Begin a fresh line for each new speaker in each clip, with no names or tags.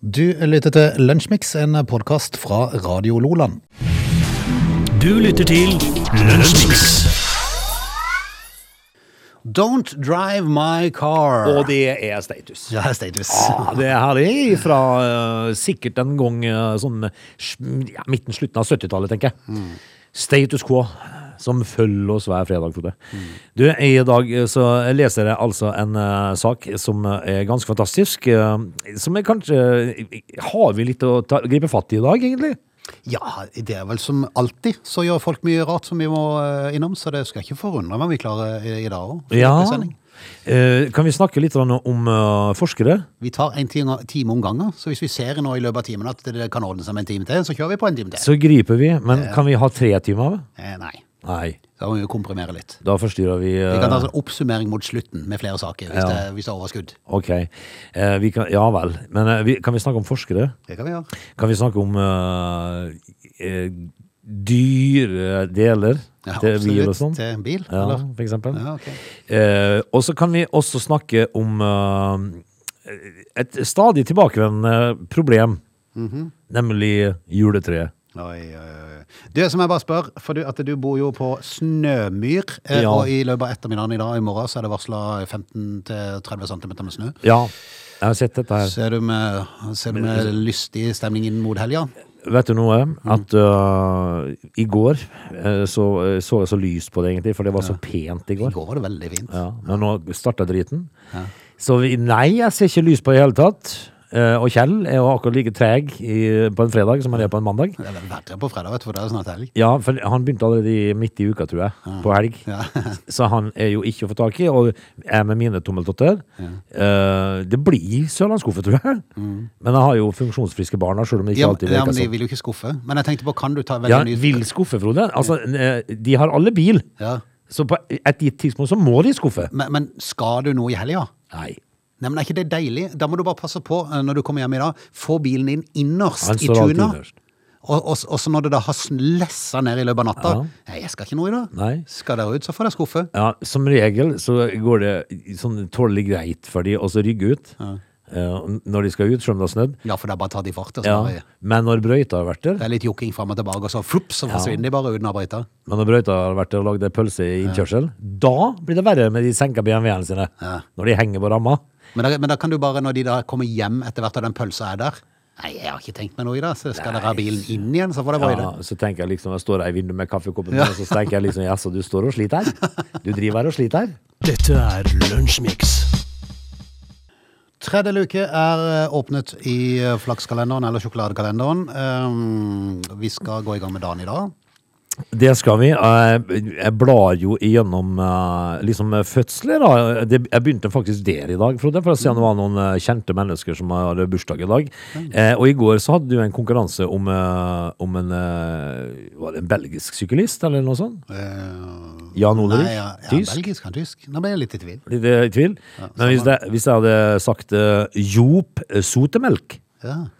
Du lytter til Lunsjmix, en podkast fra Radio Loland.
Du lytter til Lunsjmix.
Don't drive my car.
Og det er status.
Ja, status.
Ja, det her er fra eh, sikkert en gang eh, sånn sm- ja, midten, slutten av 70-tallet, tenker jeg. Status quo, som følger oss hver fredag, Frode. Du, i dag eh, så leser jeg altså en eh, sak som eh, er ganske fantastisk, eh, som er kanskje eh, Har vi litt å ta, gripe fatt i i dag, egentlig?
Ja, det er vel som alltid, så gjør folk mye rart som vi må eh, innom, så det skal ikke forundre meg om vi klarer eh, i dag òg.
Eh, Kan vi snakke litt grann om eh, forskere?
Vi tar en time, time om gangen, så hvis vi ser nå i løpet av timen at det kan ordne seg med en time til, så kjører vi på en time til.
Så griper vi, men kan vi ha tre timer?
Eh, nei.
Nei.
Da må vi jo komprimere litt.
Da forstyrrer vi eh,
Vi kan ta en sånn oppsummering mot slutten med flere saker, hvis,
Ja.
det, hvis det er overskudd.
Ok. Eh, vi kan, ja vel. Men eh, vi, kan vi snakke om forskere?
Det kan vi gjøre.
Kan vi snakke om eh, eh, dyre deler
Ja,
til bil og
absolutt.
sånn?
Til bil,
Ja,
eller?
for eksempel.
Ja, ok.
Eh, og så kan vi også snakke om eh, et stadig tilbakevendende eh, problem,
Mhm.
nemlig juletreet.
Oi, oi, oi. Du, som jeg bare spør, for du, at du bor jo på Snømyr, eh,
Ja.
og i løpet av ettermiddagen i dag i morgen så er det varsla 15-30 cm med snø.
Ja, jeg har sett dette her.
Ser du med, ser du med lystig stemning inn mot helga?
Vet du noe?
Mhm.
At øh, i går øh, så øh, så jeg så lyst på det egentlig, for det var så pent i
I
går.
går var det veldig fint.
Ja, men nå starta driten. Så vi, nei, jeg ser ikke lyst på det i hele tatt. Eh, og Kjell er jo akkurat like treg i, på en fredag som han er på en mandag.
Det er vel verre på fredag, vet du, for det er snart helg.
Ja, for han begynte allerede i- midt i uka, tror jeg, på helg.
Ja.
Så han er jo ikke å få tak i, og jeg med mine tommeltotter eh, Det blir sørlandskuffe, tror jeg. Men jeg har jo funksjonsfriske barna, sjøl om det
Mm.
ikke
Ja,
alltid
men- ja,
virker
men
sånn.
de vil jo ikke skuffe. Men jeg tenkte på, kan du ta veldig
Ja,
ny
vil skuffe, Frode. Altså, eh, de har alle bil,
Ja.
så på et gitt tidspunkt så må de skuffe.
Men, men skal du noe i helga?
Nei.
Nei, men Er ikke det deilig? Da må du bare passe på eh, når du kommer hjem i dag. Få bilen din innerst
Han
i
står alltid
tuna.
innerst.
Og, og, og så når det da har lessa ned i løpet av natta. Nei, jeg skal ikke noe i dag.
Nei.
Skal dere ut, så får dere skuffe.
Ja, som regel så går det sånn tålelig greit for de å så rygge ut eh, når de skal ut, selv om det har snødd.
Ja, for det er bare å ta de fart. og så
Ja.
bare-
Men når brøyta har vært der,
Det er litt jokking fram og tilbake, og så flupp, så forsvinner de bare uten å ha brøyta.
men når brøyta har vært der og lagd ei pølse i innkjørsel, da blir det verre med de senka BMW-ene sine.
Ja.
Når de henger på ramma.
Men, da- men da kan du bare, når de da kommer hjem etter hvert og den pølsa er der Nei, jeg har ikke tenkt meg noe i dag, så skal dere ha bilen inn igjen, så får dere brøyte.
Ja, så tenker jeg liksom, jeg står her i vinduet med kaffekoppen,
Ja.
min, og så tenker jeg liksom, jaså, du står og sliter her? Du driver her og sliter her?
Dette er Lunsjmix.
Tredje luke er eh, åpnet i eh, flakskalenderen, eller sjokoladekalenderen. Ehm, vi skal gå i gang med dagen i dag.
Det skal vi. Jeg jeg blar jo igjennom eh, liksom fødsler. Da. Det- Jeg begynte faktisk der i dag, Frode, for å se om det var noen eh, kjente mennesker som hadde bursdag i dag. Eh, Og i går så hadde du en konkurranse om, eh, om en eh, Var det en belgisk syklist, eller noe sånt?
Eh,
Jan Olerich?
Nei, ja, ja,
Tysk?
belgisk kan tysk. Nå ble jeg litt i tvil.
Litt eh, i tvil. Men hvis jeg, hvis jeg hadde sagt eh, Joop Sotemelk,
Ja.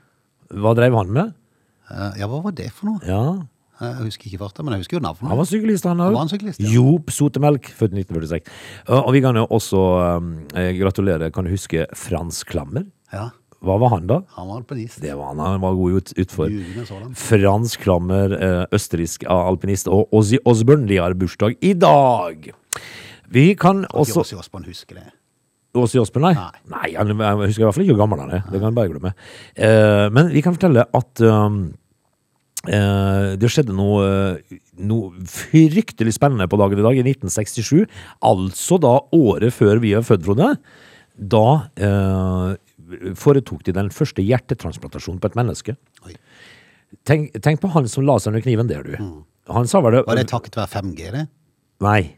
hva drev han med?
Eh, ja, hva var det for noe? Eh,
Ja,
Jeg husker ikke farta, men jeg husker jo navnet.
Han var syklist, han
Han
òg.
var en syklist, ja.
Job Sotemelk, født 1946. Og og vi kan jo også um, eh, gratulere, kan du huske Frans Klammer?
Ja,
Hva var han da?
han var alpinist.
Det var han, han var god ut, utfor.
Jugende sådan.
Frans Klammer, eh, østerriksk alpinist, og Ozzy Osbourne, de har bursdag i dag. Vi kan
Også...
også
Åse Åsborn husker det.
Åse Jåspen, nei?
Nei.
Nei, han, jeg husker i hvert fall ikke hvor gammel han er. Det kan jeg bare glemme. Eh, men vi kan fortelle at um, eh, det skjedde noe, eh, noe fryktelig spennende på dagen i dag, i 1967. Altså da året før vi er født, Frode. Da eh, foretok de den første hjertetransplantasjonen på et menneske.
Oi.
Tenk, tenk på han som la seg under kniven der, du. Han sa vel det
Mm. Var det takket være 5G, det?
Nei.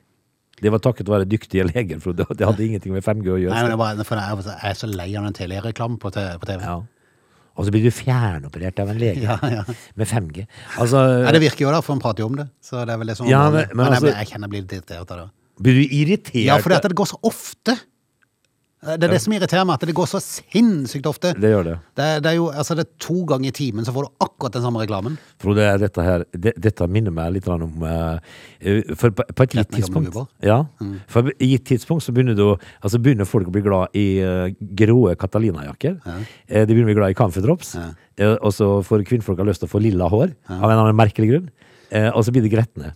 Det var takket være dyktige leger, Frode. og Det hadde ingenting med 5G å gjøre.
Nei, men det var, for jeg, jeg er så lei av den Telia-reklamen på, T- på TV.
Ja. Og så blir du fjernoperert av en lege
Ja, ja.
med 5G. Altså,
Nei, det virker jo da, for han prater jo om det. Så det er vel det som
Ja, men- men
jeg, blir-
altså-
jeg kjenner jeg blir litt irritert av det.
blir du irritert?
Ja, for det går så ofte. Eh, Det er det som irriterer meg, at det går så sinnssykt ofte.
Det gjør det.
Det er, det er jo altså det er to ganger i timen så får du akkurat den samme reklamen.
Frode, dette her det, Dette minner meg litt grann om eh, eh, For på, på et gitt
Kjent med gamle Mm.
tidspunkt
gubber.
Ja, for på et gitt tidspunkt så begynner, du, å- altså begynner folk å bli glad i eh, gråe Catalina-jakker. Eh, de begynner å bli glad i camferdrops. Eh, og så får kvinnfolk har lyst til å få lilla hår av en eller annen merkelig grunn. Eh, og så blir de gretne.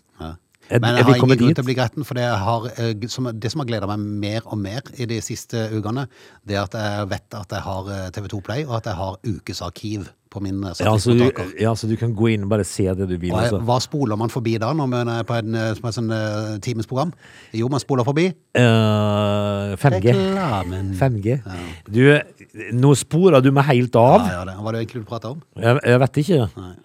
Er-
Men jeg
er vi
har ingen
kommet
grunn
dit?
til å bli gretten, for det, jeg har, eh, g- som, det som har gleda meg mer og mer i de siste ukene, det er at jeg vet at jeg har eh, TV2 Play, og at jeg har ukesarkiv på min eh,
Ja, så du,
satellittmottaker.
ja, så du kan gå inn og bare se det du vil.
Og jeg,
Altså.
hva spoler man forbi da, når man er på en, eh, på et sånn eh, timesprogram? Jo, man spoler forbi
Eh, 5G.
reklamen.
5G. Du, nå sporer du meg helt av.
Ja, ja, det var det egentlig du prata om?
Jeg, jeg vet ikke. Eh,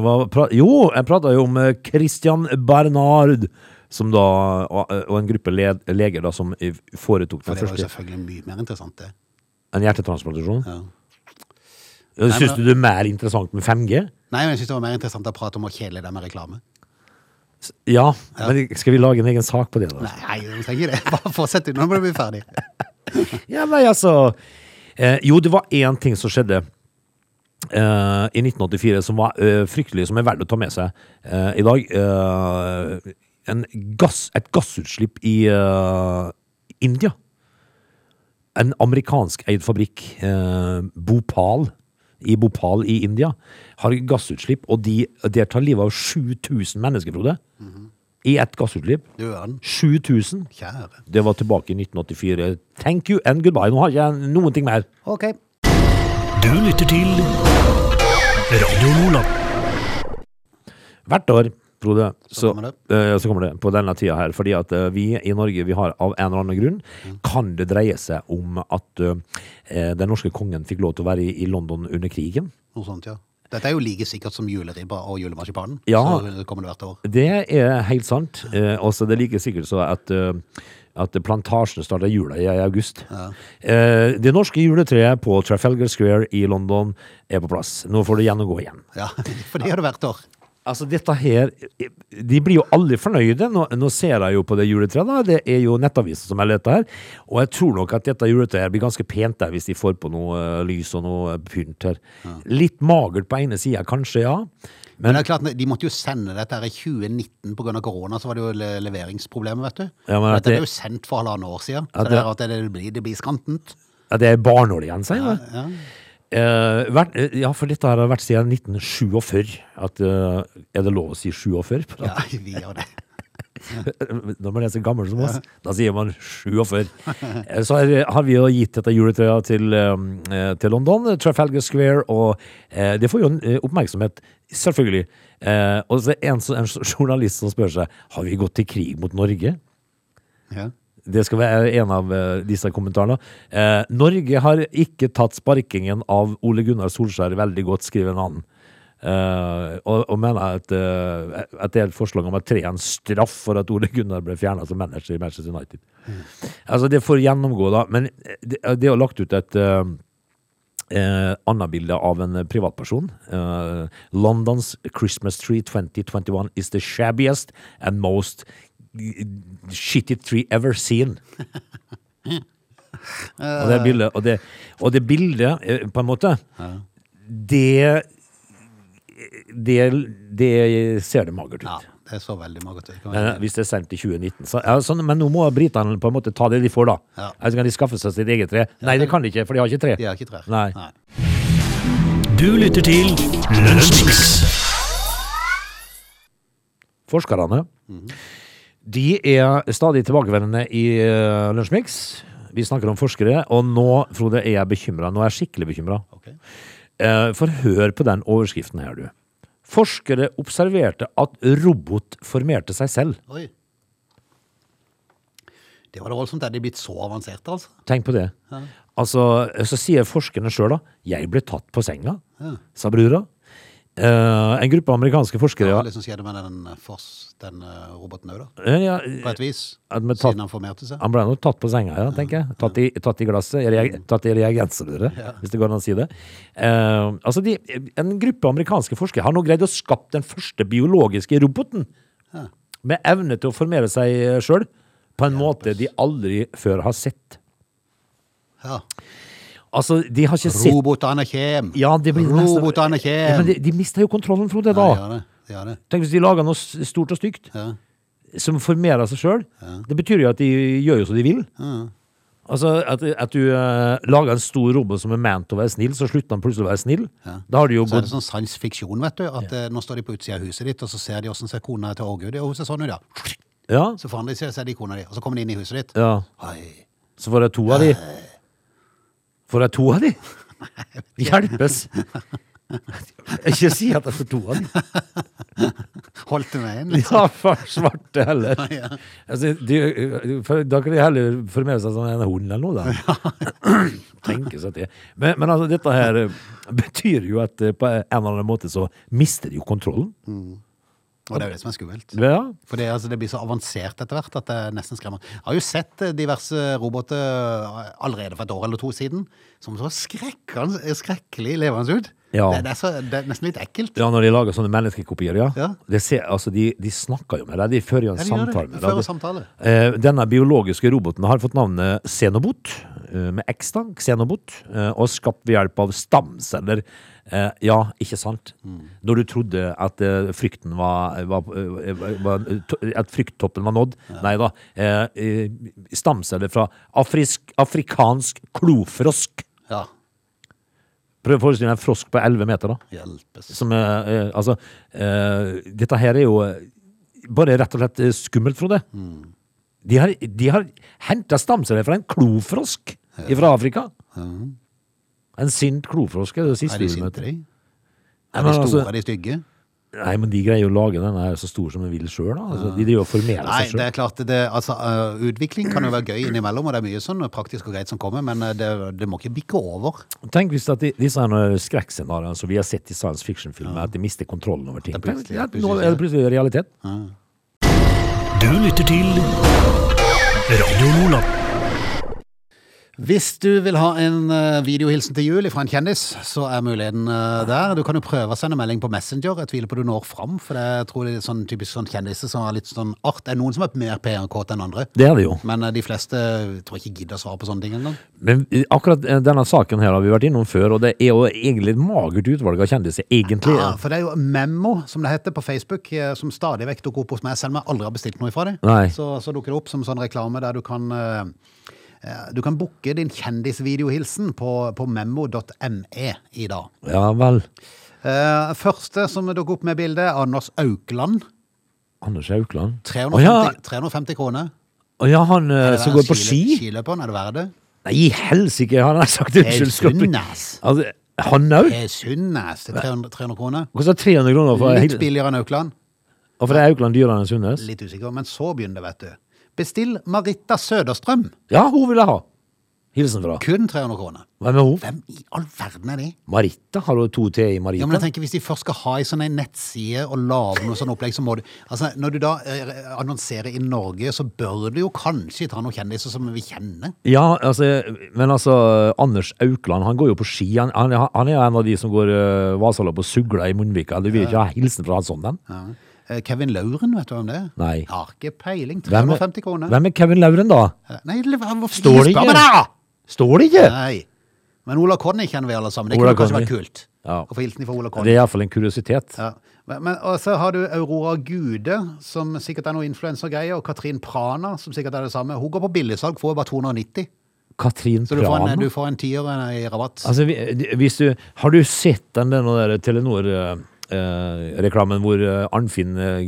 Hva, pra, jo, jeg prata jo om eh, Christian Bernard, som da, og, eh, og en gruppe le, leger da, som i- foretok
For
den
det var jo
første
selvfølgelig mye mer interessant, det.
en hjertetransplantasjon.
Ja.
Syns du det er mer interessant med 5G?
Nei, men jeg syns det var mer interessant å prate om å kjele deg med reklame.
Ja, men skal vi lage en egen sak på det? da?
Nei, du trenger ikke det. Bare fortsett, du. nå må du bli ferdig.
Ja, nei, altså eh, Jo, det var én ting som skjedde eh, i 1984 som var eh, fryktelig, som er verdt å ta med seg eh, i dag. Eh, en gass, et gassutslipp i eh, India. En amerikansk-eid fabrikk, eh, Bhopal, i Bhopal i India, har gassutslipp, og de, der tar livet av 7000 mennesker, Frode. I ett gassutslipp.
Du er den
7000.
kjære.
Det var tilbake i 1984. Thank you and goodbye. Nå har ikke jeg noen ting mer.
Ok.
Du lytter til Radio Nordland.
Hvert år, Frode, så,
kommer det.
eh, så kommer det på denne tida her. Fordi at eh, vi i Norge, vi har av en eller annen grunn,
Mm.
kan det dreie seg om at eh, den norske kongen fikk lov til å være i, i London under krigen.
Noe sånt, ja. Dette er jo like sikkert som juleribba og julemarsipanen.
Ja.
Så kommer det hvert år.
Det er helt sant. Eh, også det er like sikkert så at, eh, at plantasjene starta jula i i august. Eh, det norske juletreet på Trafalgar Square i London er på plass. Nå får det gjennomgå igjen.
Ja, For det gjør det hvert år.
Altså dette her De blir jo aldri fornøyde. Nå, nå ser jeg jo på det juletreet. da Det er jo nettavisen som er dette her. Og jeg tror nok at dette juletreet her blir ganske pent der hvis de får på noe eh, lys og noe eh, pynt her. Litt magert på ene sida, kanskje, ja.
Men
Men,
det er klart, de måtte jo sende dette her i 2019 pga. korona, så var det jo le- leveringsproblemer, vet du.
Ja, men at
dette
det-
er jo sendt for halvannet år siden,
At
så det,
det-
er at det, blir, det blir skrantent.
ja, det er barnål igjen, sier jeg.
Ja.
Eh, vært, eh, ja, for dette her har vært siden 1947. At, eh, er det lov å si 47?
ja, vi gjør det.
eh, Når man er så gammel som oss, da sier man 47. Eh, Så har- har vi jo gitt dette juletrøya til, um, eh, til London, eh, Trafalgar Square, og eh, det får jo en, eh, oppmerksomhet, selvfølgelig. Eh, Og så er det en, som- en journalist som spør seg har vi gått til krig mot Norge.
Ja.
Det skal være en av eh, disse kommentarene. Eh, Norge har ikke tatt sparkingen av Ole Gunnar Solskjær veldig godt, skriver en annen. Eh, og, og mener at, eh, at det er et forslag om at tre er en straff for at Ole Gunnar ble fjerna som manager i Manchester United. Altså, det får gjennomgå, da. Men eh, det, det er jo lagt ut et eh, Eh, annet bilde av en eh, privatperson. Eh, Londons Christmas tree 2021 is the shabbiest and most g- shitty tree ever seen. og det bildet, og det, og det bildet eh, på en måte, det, det Det ser det magert ut.
ja. Det er så veldig magert ut.
Men eh, hvis det er sendt i 2019. Så, ja, sånn, men nå må britene på en måte ta det de får, da.
Ja.
Ellers kan de skaffe seg sitt eget tre. Nei, det kan de ikke, for de har ikke tre.
De har ikke trær.
Nei.
Du lytter til Lunsjmix.
forskerne. De er stadig tilbakevendende i uh, Lunsjmix. Vi snakker om forskere, og nå Frode, er jeg bekymra. Nå er jeg skikkelig bekymra.
Ok.
for hør på den overskriften her, du. Forskere observerte at robot formerte seg selv.
Oi. Det var da voldsomt. Er de blitt så avanserte, altså?
Tenk på det. Altså, så sier forskerne sjøl, da. Jeg ble tatt på senga, sa brura. Eh, en gruppe amerikanske forskere
Det
ja,
var det som skjedde med den, eh, Foss, den eh, roboten òg, da.
eh, ja,
På et vis.
At vi tatt-
Siden han formerte seg.
Han ble nå tatt på senga, ja, tenker jeg. Tatt i, tatt i glasset, reag, tatt i reagensrøret, hvis det går an å si det. Eh, altså, de, en gruppe amerikanske forskere har nå greid å skapt den første biologiske roboten med evne eh, til å formere seg sjøl på en måte de aldri før har sett.
Ja.
Altså, de har ikke sett
Robotene kjem!
Ja, det blir nesten-
Robotene kjem!
ja, men de, de mister jo kontrollen, Frode,
Ja, de
da.
gjør det. De gjør det.
Tenk hvis de lager noe s- stort og stygt
Ja.
som formerer seg sjøl. Det betyr jo at de gjør jo som de vil. Altså At, at du eh, lager en stor robot som er ment å være snill, så slutter han plutselig å være snill. Da har de jo
Så er
gått
det sånn sans fiksjon, vet du. At eh, nå står de på utsida av huset ditt, og så ser de åssen ser kona til Årgud ut. Og hun ser sånn ut, ja.
ja,
Så forandrer de seg, ser de kona di. Og så kommer de inn i huset ditt.
ja,
Hei.
så får jeg to av de. Får jeg to av de? Hjelpes! Ikke si at jeg får to av de.
Holdt du meg inn? liksom?
Ja, for svarte heller. Altså, de, for, da kan de heller formere seg som en hund eller noe. Da. Tenke seg til. Men, men altså, dette her eh, betyr jo at eh, på en eller annen måte så mister de jo kontrollen.
Og det er jo det som er skummelt.
Ja.
For det, altså, det blir så avansert etter hvert at det er nesten skremmer. Jeg har jo sett eh, diverse roboter eh, allerede for et år eller to siden som så skrekkende, skrekkelig levende ut.
Ja.
Det, det, er så, det er nesten litt ekkelt.
ja, når de lager sånne menneskekopier, ja.
Ja.
Det ser, altså, de, de snakker jo med deg, de fører jo en
Ja, de gjør det.
samtale med
De fører
deg.
samtale.
Eh, denne biologiske roboten har fått navnet Xenobot, eh, med X da, Xenobot, eh, og skapt ved hjelp av stamceller. Eh, ja, ikke sant?
Mm.
Når du trodde at eh, frykten var, var, eh, var, var At frykttoppen var nådd. Nei da. Eh, eh, stamceller fra afrisk, afrikansk klofrosk.
Ja.
Prøv å forestille deg en frosk på 11 meter, da
Hjelpes.
som er, eh, Altså, eh, dette her er jo eh, bare rett og slett eh, skummelt, Frode.
Mm.
De har, de har henta stamceller fra en klofrosk fra Afrika. En sint klofrosk er det siste
Er de
du
sinte,
møter.
de?
Nei,
Er
men
de store?
altså-
Er de stygge?
Nei, men de greier jo å lage den her så stor som de vil sjøl, da. Altså, de driver og formerer
Nei, det
seg sjøl.
er klart det, altså, øh, Utvikling kan jo være gøy innimellom, og det er mye sånn praktisk og greit som kommer, men øh, det, det må ikke bikke over.
Tenk hvis at de, disse her eh, skrekkscenarioene som vi har sett i science fiction-filmer, at de mister kontrollen over
Det
ting.
er plutselig-
Tenk, ja, nå er det plutselig realitet.
Du lytter til Radio Lola.
Hvis du vil ha en øh, videohilsen til jul fra en kjendis, så er muligheten øh, der. Du kan jo prøve å sende melding på Messenger. Jeg tviler på du når fram, for det jeg tror det er sånn typisk sånn kjendiser som har litt sånn art. Det er noen som er mer PR-kåte enn andre,
Det er det jo.
men øh, de fleste tror jeg ikke gidder å svare på sånne ting engang.
Men eh, akkurat eh, denne saken her har vi vært innom før, og det er jo egentlig et magert utvalg av kjendiser, egentlig.
Ja, for det er jo Memo, som det heter på Facebook, eh, som stadig vekk dukker opp hos meg, selv om jeg aldri har bestilt noe fra det.
Nei.
Så, så dukker det opp som sånn reklame der du kan eh, eh, du kan booke din kjendisvideohilsen på, på memo.me E i dag.
Ja vel.
Eh, første som dukker opp med bildet, Anders Aukland.
Anders Aukland.
350,
Å ja,
350 kroner.
å ja, han eh,
Er det
som
den
går på ski?
skile- Skiløperen, er det verdt det?
Nei, i helsike, han har sagt unnskyld. skal du-
Sunnes.
Altså, han òg?
Det er Sunnes til 300, 300 kroner.
Koster 300 kroner for
Litt
hele-
billigere enn Aukland.
Og for det er Aukland dyrere enn Sundnes?
Litt usikker, men så begynner det, vet du. Bestill Marita Søderstrøm.
Ja, hun vil jeg ha. Hilsen fra.
Kun 300 kroner.
Hvem er hun?
Hvem i all verden er de?
Marita? Har hun to T i
Ja, men jeg
Marita?
tenker Hvis de først skal ha ei sånn en nettside og lage noe sånn opplegg, så må du Altså, Når du da eh, annonserer i Norge, så bør du jo kanskje ta noen kjendiser som vi kjenner.
Ja, altså, men altså, Anders Aukland, han går jo på ski. Han, han, han er jo en av de som går uh, Vasaloppet og sugler i Munnvika. Du vil ikke ha hilsen fra han sånn, den?
Ja. Eh, Kevin Lauren, vet du hvem det er?
Nei.
Har ikke peiling.
Hvem er-
350 kroner.
Hvem er Kevin Lauren, da?
Eh, Nei, det- hvorfor
Står det
spør
ikke?
meg da?
Står det ikke?
Nei. Men Ola Conny kjenner vi alle sammen. Det
Ola
kunne kanskje
Conny.
vært kult
Ja.
å få hilsen fra Ola Conny.
Det er iallfall en kuriositet.
Ja. Men, men, og så har du Aurora Gude, som sikkert er noe influensergreier, og Katrin Prana, som sikkert er det samme. Hun går på billigsalg, får bare 290.
Katrin
Så du får en, eh,
Prana?
du får en tier i rabatt.
Altså, vi- de- hvis du, har du sett den, den der Telenor-reklamen hvor eh, Arnfinn eh,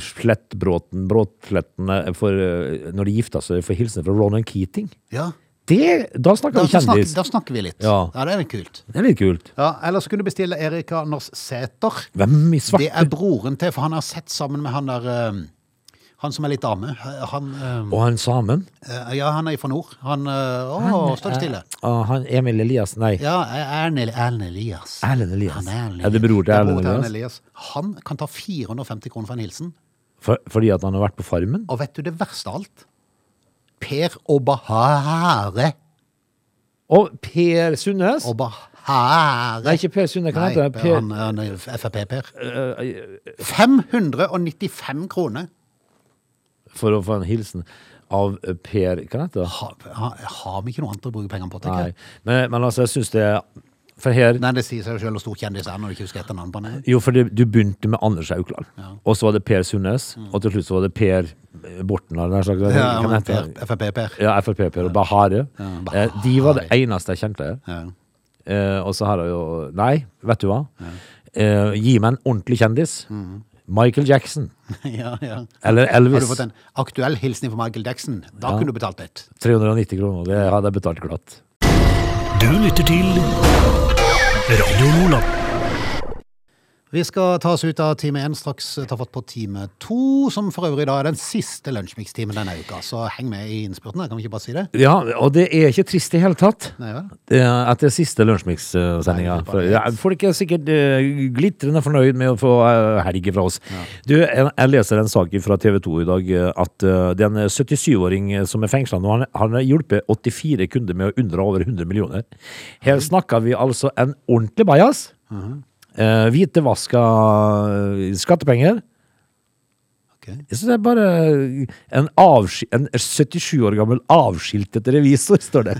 Slettbråten Bråtfletten eh, for, eh, Når de gifta seg, får hilsen fra Ronan Keating?
Ja.
Det, da
Da,
snakker vi
da, snakker,
kjendis.
da snakker vi litt.
Ja.
det er litt kult.
Det er litt kult.
Ja, Eller så kunne du bestille Erika Norssæter.
Hvem i
Det
svarte
er broren til, for han har sett sammen med han der eh, Han som er litt dame. Han, eh,
Og han samen?
eh, ja, han er fra nord. Han eh, Å, står ikke stille.
Ah, han Emil Eliassen, nei.
Ja, Erlend Eli- Erlend Elias.
Erlend Elias.
Han er, Erlend
Er det bror til Erlend
Erlend Elias? Han kan ta 450 kroner for en hilsen.
For, fordi at han har vært på Farmen?
Og vet du det verste av alt? Per Obahare.
Og Per Sundnes?
Obahare.
Nei, ikke Per Sundnes, hva
Nei,
heter han? Per- Eh,
han, han er eh, Frp-Per. 595 kroner.
for å få en hilsen. av eh, Per Hva heter det?
Ha, ha, har vi ikke noe annet å bruke pengene på, tenker
Nei.
jeg.
Men, men altså, jeg syns det For her
Nei, det sier seg jo selv hvor stor kjendis er når du ikke husker etter navnet på ham.
Jo, for det, du begynte med Anders Aukland,
Ja. Mm.
og så var det Per Sundnes, og til slutt så var det Per eh, Borten, eller noe slags.
Ja,
Hva
men
heter
Per-
han?
Frp-Per.
Ja, Frp-Per og Bahare.
Ja,
Eh,
Bahare.
De var det eneste jeg kjente.
Ja.
Eh, og så har jeg jo Nei, vet du hva? Eh, gi meg en ordentlig kjendis. Michael Jackson.
ja, ja.
Eller
Mhm. Har
Elvis.
du fått en aktuell hilsen fra Michael Jackson? Da kunne du betalt litt.
390 kroner. Det hadde jeg betalt glatt.
Du lytter til Radio Nordland.
Vi skal ta oss ut av time én, straks ta fatt på time to, som for øvrig da er den siste lunsjmikstimen denne uka. Så heng med i innspurten, her, kan vi ikke bare si det?
Ja, og det er ikke trist i hele tatt.
Nei vel?
Det er etter siste lunsjmix-sendinga.
Nei, det er bare helt-
Folk er sikkert eh, glitrende fornøyd med å få eh, helg fra oss. Du, jeg, jeg leser en sak fra TV 2 i dag eh, at eh, det er en 77-åring som er fengsla nå. Han, han har hjulpet 84 kunder med å unndra over 100 millioner. Her snakker vi altså en ordentlig bajas.
Mhm.
Eh, Hvitevaska eh, skattepenger.
Ok.
Jeg synes det er bare en, avski, en 77 år gammel avskiltet revisor, står det.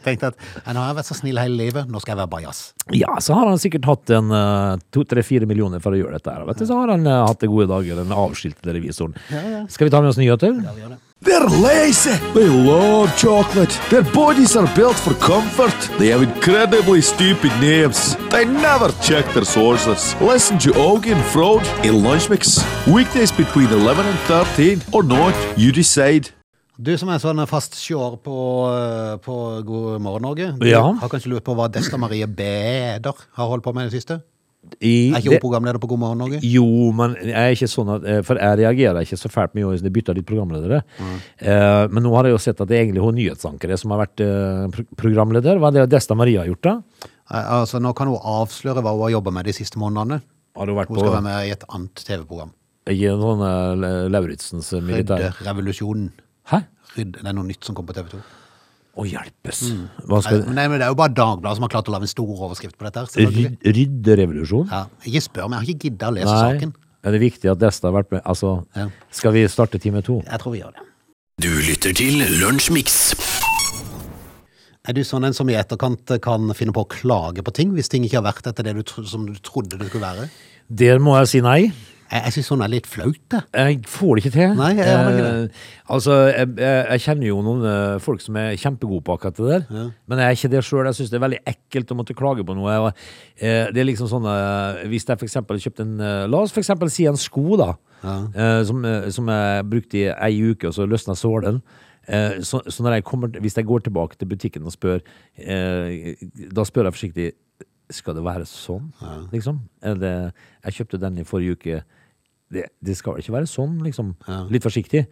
Tenkte at «Nei, nå har jeg vært så snill hele livet, nå skal jeg være bajas.
Ja, så har han sikkert hatt en eh, to, tre, fire millioner for å gjøre dette her. Vet du, så har han eh, hatt det gode dager, den avskiltede revisoren. Skal vi ta med oss nyheter?
Ja, vi gjør det.
They're lazy. They love chocolate. Their bodies are built for comfort. They have incredibly stupid names. They never check their sources. Listen to Augie and Frode in Lunch Mix. Weekdays between 11 and 13 or not, you decide.
Du som er sånn fast seer på, eh, på God morgen Norge, du
Ja.
har kanskje lurt på hva Desta Marie Beder har holdt på med i det siste?
I-
Er ikke hun
det-
programleder på God morgen Norge?
jo, men jeg er ikke sånn at, eh, for jeg reagerer ikke så fælt mye hvis de bytter litt programledere.
Mm.
Eh, men nå har jeg jo sett at det er egentlig hun nyhetsankere som har vært eh, pro programleder. Hva er det Desta Maria har gjort da?
Eh, Altså, nå kan hun avsløre hva hun har jobba med de siste månedene.
Har hun vært
Hun skal
på
være med i et annet TV-program.
i noen eh, Lauritzens eh, militær...
Rydde revolusjonen.
Hæ?
Rydde. Det er noe nytt som kom på TV 2.
Å hjelpes. Hva skal...
Mm. Nei, men Det er jo bare Dagbladet som har klart å lage en stor overskrift på dette. her, selvfølgelig.
Ryd- Rydde revolusjon?
Ja. Ikke spør meg, jeg har ikke gidda å lese saken.
Er det viktig at Desta har vært med? Altså,
Ja.
skal vi starte time to?
Jeg tror vi gjør det.
Du lytter til Lunsjmix.
Er du sånn en som i etterkant kan finne på å klage på ting, hvis ting ikke har vært etter det du, tro- som du trodde det skulle være?
Der må jeg si nei.
Jeg, jeg syns sånn er litt flaut, det.
Jeg får det ikke til.
Nei, jeg har ikke
Eh, altså, jeg, jeg, jeg kjenner jo noen eh, folk som er kjempegode på akkurat det der, men jeg er ikke det sjøl. Jeg syns det er veldig ekkelt å måtte klage på noe. Jeg, eh, det er liksom sånn eh, Hvis jeg for eksempel kjøpte en eh, La oss for eksempel si en sko, da. eh, som, eh, som jeg brukte i ei uke, og så løsna sålen. Eh, Så, så når jeg kommer, til- hvis jeg går tilbake til butikken og spør, eh, da spør jeg forsiktig Skal det være sånn, liksom? Eller Jeg kjøpte den i forrige uke. Det, det skal vel ikke være sånn, liksom? Litt forsiktig.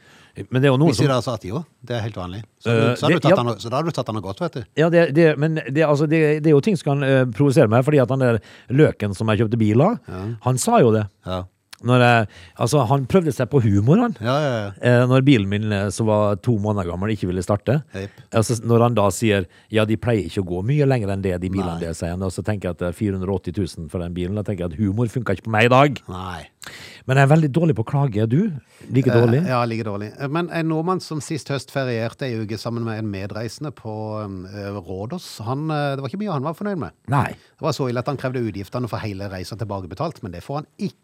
Men det er jo noen
Hvis
som
du da sa at jo, det er helt vanlig. Så,
Eh,
så, har du
det-
tatt
ja.
han, så da har du tatt han og gått, vet du.
ja, det, det, men det, altså, det, det er jo ting som kan eh, provosere meg, fordi at han der løken som jeg kjøpte bil av, han sa jo det.
Ja,
Når jeg, altså, han prøvde seg på humor, han.
ja, ja. ja.
Eh, når bilen min eh, som var to måneder gammel ikke ville starte,
Jepp.
altså, når han da sier ja, de pleier ikke å gå mye lenger enn det, de bilene
Nei.
der, sier han, og så tenker jeg at det er 480 000 for den bilen, da tenker jeg at humor funker ikke på meg i dag.
Nei.
Men jeg er veldig dårlig på å klage, er du? Like dårlig?
Eh, Ja, like dårlig. Eh, Men en nordmann som sist høst ferierte ei uke sammen med en medreisende på eh, Rådås, han, eh, det var ikke mye han var fornøyd med.
Nei.
Det var så ille at han krevde utgiftene for hele reisa tilbakebetalt, men det får han ikke.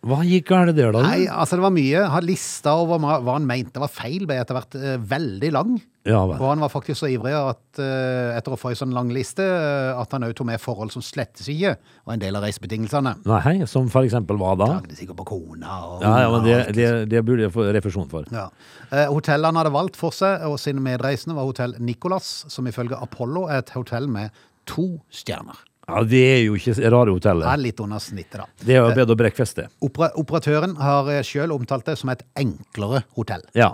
Hva gikk galt der da? du?
Nei, altså det var mye. Han lista over hva hva han mente var feil, ble etter hvert eh, veldig lang.
Ja,
Og
vel.
han var faktisk så ivrig at, eh, etter å få ei sånn lang liste eh, at han òg tok med forhold som slettes ikke var en del av reisebetingelsene.
Nei, som for eksempel hva da?
Klagde sikkert på kona og
Ja, ja, men
unger og
det,
alt.
det, det burde jeg få refusjon for.
Ja. Eh, Hotellet han hadde valgt for seg og sine medreisende, var Hotell Nicolas, som ifølge Apollo er et hotell med to stjerner.
Ja, Det er jo ikke rare
Det
hotellet.
er litt under snittet, da.
Det er jo bedre å brekke festet.
Opera operatøren har eh, sjøl omtalt det som et enklere hotell.
Ja.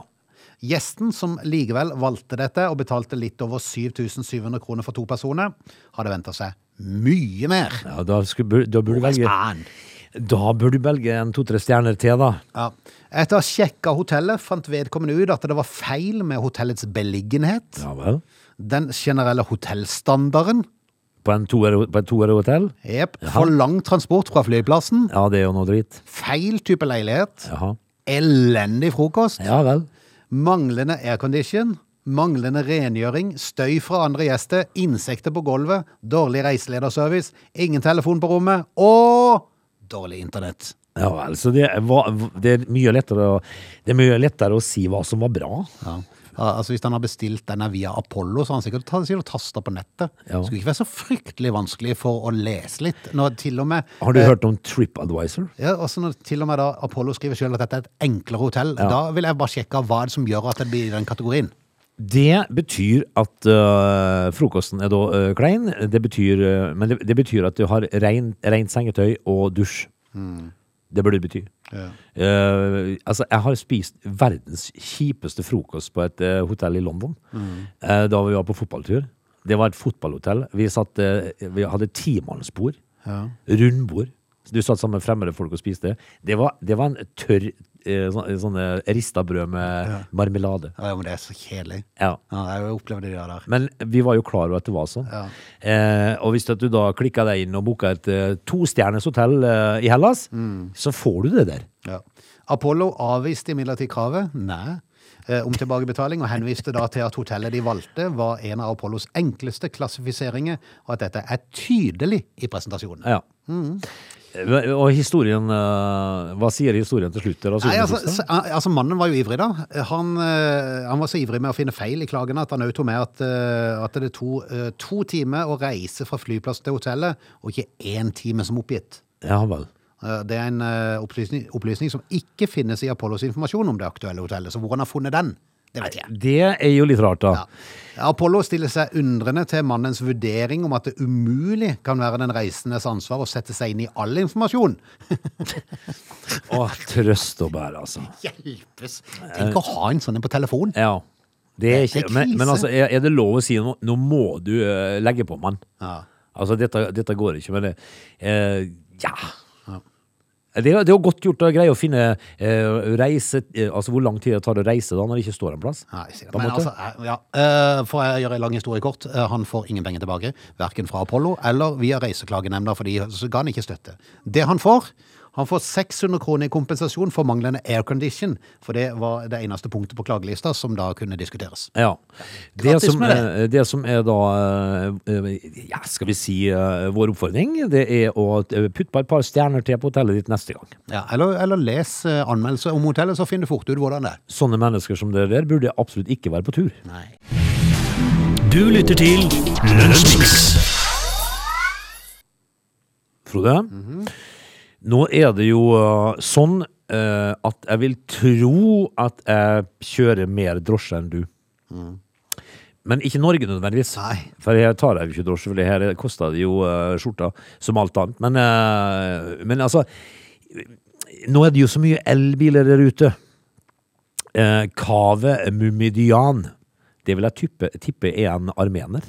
Gjesten, som likevel valgte dette og betalte litt over 7700 kroner for to personer, hadde venta seg mye mer.
ja da, skulle, bur- da burde du velge
Faen.
Da burde du velge en to-tre stjerner til, da.
Ja. Etter å ha sjekka hotellet, fant vedkommende ut at det var feil med hotellets beliggenhet,
Ja vel.
den generelle hotellstandarden,
På en toer- på et toerhotell?
Jep. For lang transport fra flyplassen.
Ja, det er jo noe dritt.
Feil type leilighet.
Jaha.
Elendig frokost.
Ja vel.
Manglende aircondition, manglende rengjøring, støy fra andre gjester, insekter på gulvet, dårlig reiselederservice, ingen telefon på rommet og dårlig internett.
Ja, altså det, var, det, er mye lettere å, det er mye lettere å si hva som var bra.
Ja. Al- Altså Hvis han har bestilt denne via Apollo, så har han sikkert ta- sikkert tasta på nettet.
Ja.
Skulle ikke være så fryktelig vanskelig for å lese litt. Når til og med,
Har du
eh,
hørt om TripAdvisor?
Ja, også når til og med da Apollo skriver sjøl at dette er et enklere hotell, da vil jeg bare sjekke hva er det som gjør at det blir i den kategorien.
Det betyr at øh, frokosten er da øh, klein, det betyr, øh, men det, det betyr at du har rein- rent sengetøy og dusj. Det burde det bety. Eh, altså, jeg har spist verdens kjipeste frokost på et eh, hotell i London eh, da vi var på fotballtur. Det var et fotballhotell. Vi, satt, eh, vi hadde timannsbord. Rundbord. Så Du satt sammen med fremmede folk og spiste. Det var, det var en tørr eh, sånn, sånn eh, rista brød med marmelade.
Ja, men det er så kjedelig.
Ja.
Ja, jeg har jo opplevd det der.
Men vi var jo klar over at det var sånn.
Ja.
Eh, og hvis at du da klikker deg inn og booker et eh, tostjerners hotell eh, i Hellas,
Mm.
så får du det der.
Ja. Apollo avviste imidlertid kravet, nei, eh, om tilbakebetaling, og henviste da til at hotellet de valgte, var en av Apollos enkleste klassifiseringer, og at dette er tydelig i presentasjonen.
Ja.
Mm.
Eh, Og historien eh, Hva sier historien til slutt? der, altså,
Nei, altså,
undersøkelsen?
s- altså Mannen var jo ivrig, da. Han, eh, han var så ivrig med å finne feil i klagene at han også tok med at, eh, at det tok eh, to timer å reise fra flyplassen til hotellet, og ikke én time som oppgitt.
ja vel.
Eh, Det er en eh, opplysning, opplysning som ikke finnes i Apollos informasjon om det aktuelle hotellet. Så hvor han har funnet den, det vet jeg.
Det er jo litt rart, da.
Ja. Apollo stiller seg undrende til mannens vurdering om at det umulig kan være den reisendes ansvar å sette seg inn i all informasjon.
Å, trøst og bære, altså.
Hjelpes! Tenk å ha en sånn en på telefon.
Ja. Det
Det
er
er
ikke, men, men
krise.
altså, er, er det lov å si nå, nå må du eh, legge på, mann?
Ja.
Altså, dette, dette går ikke, men det eh, Ja. Det, er- det er jo godt gjort å greie å finne eh, reise eh, Altså hvor lang tid det tar å reise da når det ikke står en plass.
Nei, sikkert.
På en
Men
måte.
altså, eh, ja. Eh, For å gjøre en lang historie kort, eh, han får ingen penger tilbake, verken fra Apollo eller via Reiseklagenemnda, for de så ga han ikke støtte. Det han får, han får 600 kroner i kompensasjon for manglende aircondition, for det var det eneste punktet på klagelista som da kunne diskuteres.
Ja. Det
Grattis
som,
med det.
eh, det som er da eh, eh, ja, Skal vi si eh, vår oppfordring, det er å eh, putte på et par stjerner til på hotellet ditt neste gang.
Ja, eller, eller les eh, anmeldelse om hotellet, så finner du fort ut hvordan det er.
Sånne mennesker som dere der burde absolutt ikke være på tur.
Du lytter til Lunsjmix.
Frode. Nå er det jo eh, sånn eh, at jeg vil tro at jeg kjører mer drosje enn du. Men ikke Norge nødvendigvis.
Nei.
For her tar jeg jo ikke drosje, for det her koster det jo eh, skjorta som alt annet. Men, eh, men altså Nå er det jo så mye elbiler der ute. Eh, Kave Mummidian. Det vil jeg tippe, tippe er en armener.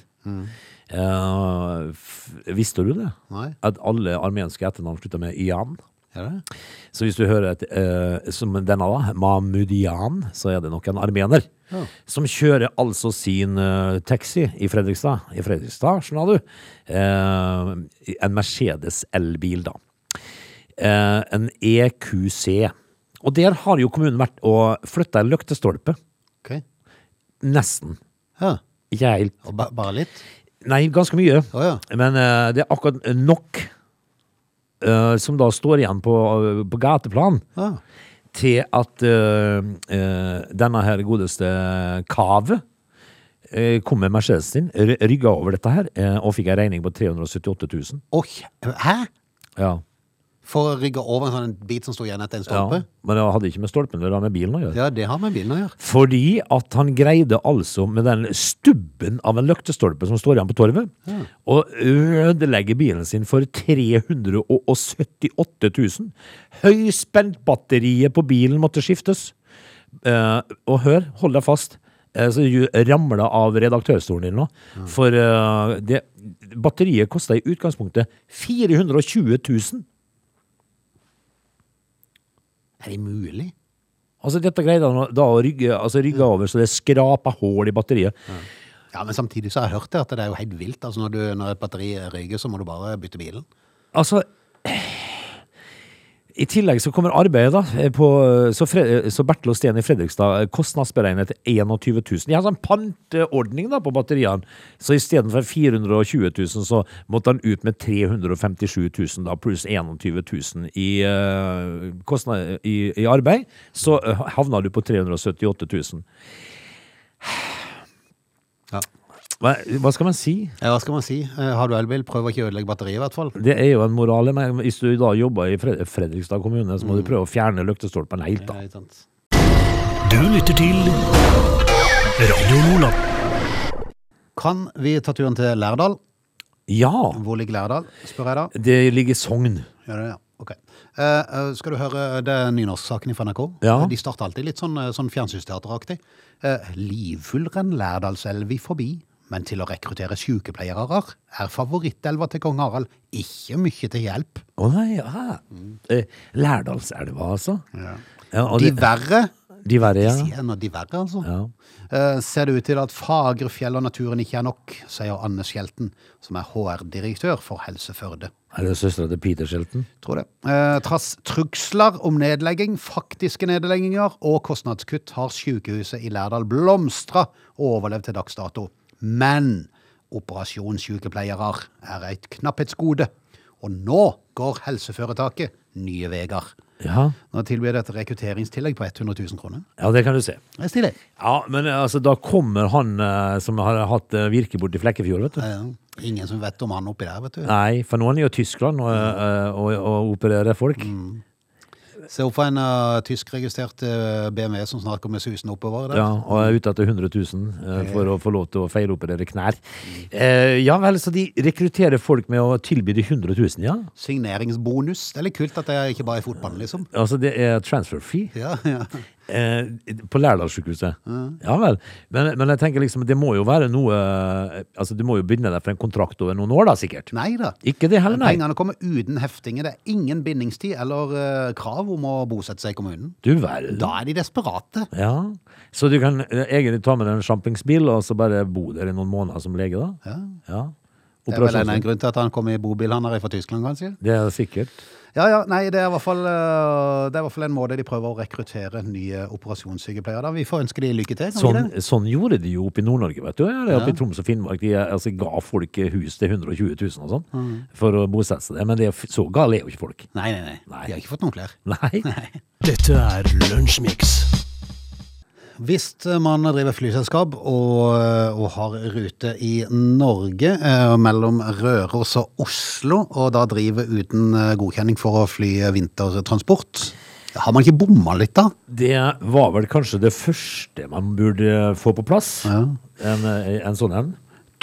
Eh, f visste du det?
Nei.
At alle armenske etternavn slutter med ian.
Er det?
Så hvis du hører et, eh, som denne da, Mahmudian, så er det nok en armener. Som kjører altså sin eh, taxi i Fredrikstad. I Fredrikstad, skjønner du. Eh, en Mercedes elbil, da. Eh, en EQC. Og der har jo kommunen vært og flytta en løktestolpe.
Ok.
Nesten.
Ja.
Ikke helt.
Og ba bare litt?
Nei, ganske mye.
Å ja.
Men eh, det er akkurat nok eh, som da står igjen på, på gateplan
Ja.
til at eh, eh, denne her godeste Kave eh, kom med Mercedesen sin, ry- rygga over dette her, eh, og fikk en regning på 378 000.
Oi, hæ?
Ja.
For å rygge over en sånn bit som sto igjen etter en
ja.
stolpe?
Men det hadde ikke med stolpen eller med bilen å gjøre.
Ja, det har med bilen å gjøre.
Fordi at han greide altså med den stubben av en løktestolpe som står igjen på torvet, å ødelegge bilen sin for 378 000. Høyspentbatteriet på bilen måtte skiftes. Eh, og hør, hold deg fast. Eh, så du ramla av redaktørstolen din nå. For eh, det, batteriet kosta i utgangspunktet 420 000.
Er det mulig?
Altså, dette greide han å- da å rygge, altså, rygge over, så det skrapa hull i batteriet.
Ja, men samtidig så har jeg hørt det at det er jo helt vilt. Altså når, du, når et batteri ryker, så må du bare bytte bilen.
Altså I tillegg så kommer arbeidet, da. eh, På, så, Fre så Bertil og Steen i Fredrikstad eh, kostnadsberegnet til 21 000. De har sånn panteordning da på batteriene. Så istedenfor 420 000, så måtte han ut med 357 000, da, pluss 21 000 i, eh, kostnad, i, i arbeid. Så eh, havna du på 378 000.
Ja.
Hva, hva skal man si?
Ja, Hva skal man si? Eh, Har du elbil, prøv å ikke ødelegge batteriet, i hvert fall.
Det er jo en moral. Men hvis du da jobber i Fred Fredrikstad kommune, så må
Mm.
du prøve å fjerne lyktestolpene helt, da.
Det er ikke sant.
Du lytter til Radio Nordland.
Kan vi ta turen til Lærdal?
Ja!
Hvor ligger Lærdal, spør jeg da.
Det ligger i Sogn.
Gjør det, ja. Ok. Eh, eh, skal du høre det er nynorsksaken fra NRK?
Ja.
De starter alltid litt sånn, eh, sånn fjernsynsteateraktig. Eh, livfull renn Lærdalselvi forbi, men til å rekruttere sykepleiere er favorittelva til kong Harald ikke mye til hjelp.
Å nei, ja. Eh, Lærdalselva, altså. Ja. og
Mm. De
de,
verre,
de verre, ja.
sier nå de verre, altså.
ja.
Eh, ser det ut til at fagre fjell og naturen ikke er nok, sier Anne Skjelten, som er HR-direktør for Helse Førde.
Er det søstera til Peter Shelton?
Tror det. Eh, trass trugsler om nedlegging, faktiske nedlegginger og kostnadskutt har sykehuset i Lærdal blomstra og overlevd til dags dato. Men operasjonssykepleiere er et knapphetsgode. Og nå går helseforetaket nye veier.
Ja.
Nå tilbyr det et rekrutteringstillegg på 100 000 kroner.
ja, det kan du se.
Det er stilig.
Ja, Men eh, altså, da kommer han eh, som har hatt eh, virke borti Flekkefjord, vet du.
Eh, ingen som vet om han oppi der, vet du.
Nei, for nå er han jo i Tyskland og, eh, og, og opererer folk.
Se opp for en eh, tyskregistrert eh, BMW som snart kommer susende oppover. Der.
Ja, og er ute etter 100 000 eh, for å få lov til å feiloperere knær. Eh, ja vel, så de rekrutterer folk med å tilby de 100 000, ja?
Signeringsbonus. Det er litt kult at det ikke bare er fotball, liksom.
Altså, det er transfer fee.
Ja, ja.
Eh, på Lærdalssykehuset. Ja vel. Men, men jeg tenker liksom, det må jo være noe Altså, du må jo binde deg for en kontrakt over noen år, da, sikkert.
Nei da.
Ikke det heller, nei.
Pengene kommer uten heftinger. Det er ingen bindingstid eller eh, krav om å bosette seg i kommunen.
Du verden.
Da er de desperate.
Ja. Så du kan eh, egentlig ta med deg en sjampingsbil og så bare bo der i noen måneder som lege, da? Ja.
Det er vel en,
Operasjons-
grunn til at han kom i bobil. Han er fra Tyskland, kanskje?
Det er sikkert.
Ja, ja, nei, det er, i hvert fall, eh, det er i hvert fall en måte de prøver å rekruttere nye operasjonssykepleiere da. Vi får ønske de lykke til. kan vi
Sånn,
det?
sånn gjorde de jo oppe i Nord-Norge, vet du. Eller oppe i Troms og Finnmark. De eh, altså, ga folk eh, hus til 120 000 og sånn
Mm.
for å bosette seg der. Men det, er f- så gale er jo ikke folk.
Nei, nei, nei,
Nei.
De har ikke fått noen klær.
Nei.
Dette er Lunsjmix.
Hvis man driver flyselskap og, eh, og har rute i Norge eh, mellom Røros og Oslo, og da driver uten eh, godkjenning for å fly vintertransport, har man ikke bomma litt da?
Det var vel kanskje det første man burde få på plass. En, en sånn en.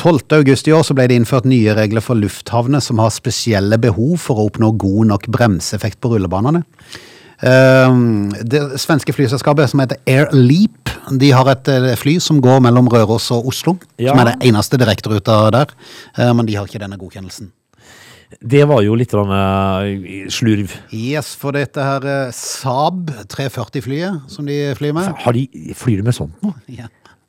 12. august i år så ble det innført nye regler for lufthavner som har spesielle behov for å oppnå god nok bremseeffekt på rullebanene. Ehm, Det svenske flyselskapet som heter Air Leap, de har et eh, fly som går mellom Røros og Oslo,
Ja.
som er det eneste direkteruta der, eh, men de har ikke denne godkjennelsen.
Det var jo litt grann, eh, slurv.
Yes, for dette her eh, Saab 340-flyet som de flyr med.
Har de, flyr de med sånt nå?
Ja.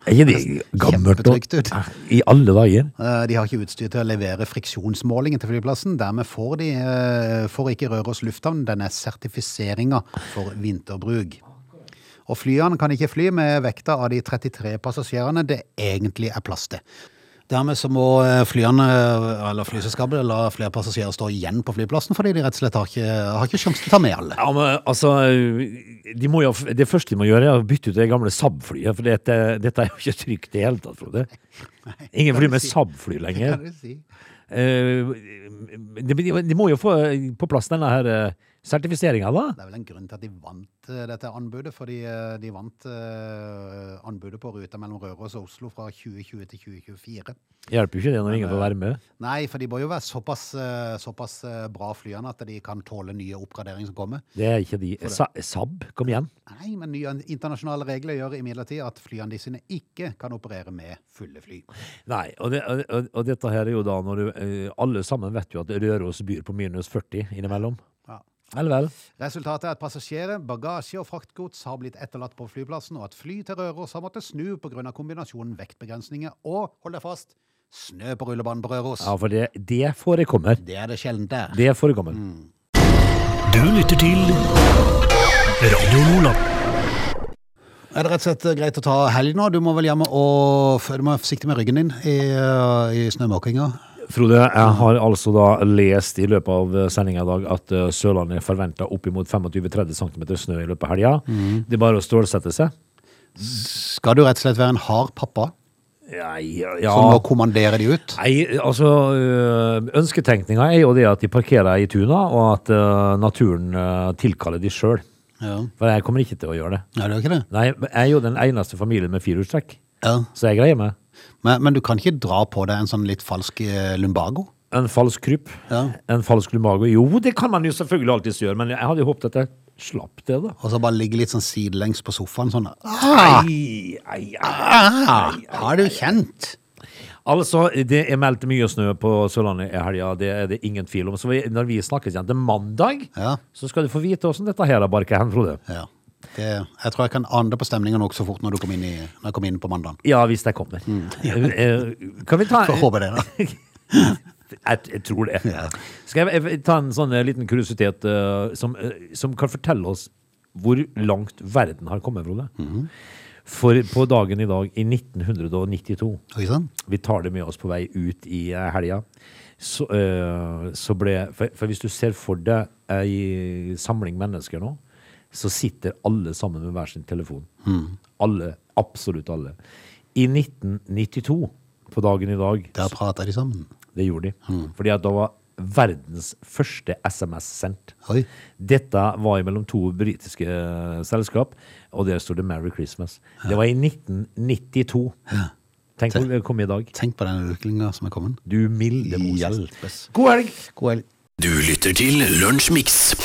Er ikke det gammelt? og-
Kjempetrygt ut.
I alle dager.
Eh, De har ikke utstyr til å levere friksjonsmålingen til flyplassen. Dermed får, de, eh, får ikke Røros lufthavn denne sertifiseringa for vinterbruk. Og flyene kan ikke fly med vekta av de 33 passasjerene det egentlig er plass til. Dermed så må eh, flyene, eh, eller flyselskapet la flere passasjerer stå igjen på flyplassen, fordi de rett og slett har ikke, har ikke sjanse til å ta med alle.
Ja, men altså de må jo, Det første de må gjøre, er å bytte ut det gamle Saab-flyet. For dette, dette er jo ikke trygt i det hele tatt, Frode. Ingen flyr med Saab-fly lenger.
Kan du si?
Eh, De, de, de må jo få på plass denne her sertifiseringa, da.
Det er vel en grunn til at de vant eh, dette anbudet, fordi eh, de vant eh, anbudet på ruta mellom Røros og Oslo fra 2020 til 2024.
Hjelper jo ikke det når ingen får være med.
Nei, for de bør jo være såpass, eh, såpass eh, bra flyende at de kan tåle nye oppgraderinger som kommer.
Det er ikke de. Sa Saab, kom igjen.
Nei, men nye internasjonale regler gjør imidlertid at flyene de sine ikke kan operere med fulle fly.
Nei, og, det, og, og dette her er jo da når du eh, Alle sammen vet jo at Røros byr på minus 40 innimellom.
Ja.
Vel, vel.
Resultatet er at passasjerer, bagasje og fraktgods har blitt etterlatt på flyplassen, og at fly til Røros har måttet snu pga. kombinasjonen vektbegrensninger og, hold deg fast, snø på rullebanen på Røros.
Ja, for det, det forekommer.
Det er det sjelden der.
Det forekommer.
Du lytter til Radio Nordland.
Er det rett og slett eh, greit å ta helg nå? Du må vel hjemme og Du må være forsiktig med ryggen din i, eh, i snømåkinga.
Frode, jeg har altså da lest i løpet av sendinga i dag at eh, Sørlandet forventer oppimot 25-30 cm snø i løpet av helga.
Mhm.
Det er bare å stålsette seg.
Skal du rett og slett være en hard pappa
Nei, ja.
som nå kommanderer de ut?
Nei, altså øh, Ønsketenkninga er jo det at de parkerer i tuna, og at øh, naturen øh, tilkaller de sjøl.
Ja.
For jeg kommer ikke til å gjøre det.
Nei, det er jo ikke det.
Nei, men jeg er jo den eneste familien med firehjulstrekk,
Ja.
så jeg greier meg.
Men, men du kan ikke dra på deg en sånn litt falsk eh, lumbago?
En falsk krypp,
Ja.
en falsk lumago. Jo, det kan man jo selvfølgelig alltids gjøre, men jeg hadde jo håpet at jeg slapp det, da.
Og så bare ligge litt sånn sidelengs på sofaen sånn ah,
Ai, ai, ai.
ah, Har du kjent?
Altså, det er meldt mye snø på Sørlandet i helga, det er det ingen tvil om. Så vi, når vi snakkes igjen til mandag,
Ja.
så skal du få vite åssen dette her har barka hen, Frode.
Ja. Det, jeg tror jeg kan ane det på stemninga nokså fort når du kom inn, i, når jeg kom inn på mandagen.
Ja, hvis jeg kommer.
Mm.
Eh, Kan vi ta
Får håpe det, da.
Jeg, jeg tror det.
Ja.
Skal jeg, jeg ta en sånn eh, liten kuriositet eh, som, eh, som kan fortelle oss hvor langt verden har kommet, Frode?
Mm.
For på dagen i dag, i 1992
Oi sann.
Vi tar det med oss på vei ut i eh, helga. Så, eh, så ble for, for hvis du ser for deg ei samling mennesker nå, så sitter alle sammen med hver sin telefon. Alle. Absolutt alle. I 1992, på dagen i dag,
Der prater de sammen.
det gjorde de. Fordi at da var verdens første SMS sendt.
Oi.
Dette var mellom to britiske eh, selskap, og der stod det 'Merry Christmas'. Det var i 1992. Tenk om det kom i dag.
Tenk på den utviklinga som er kommet.
Du milde Moses.
Hjelpes.
God helg!
God helg.
Du lytter til Lunsjmix.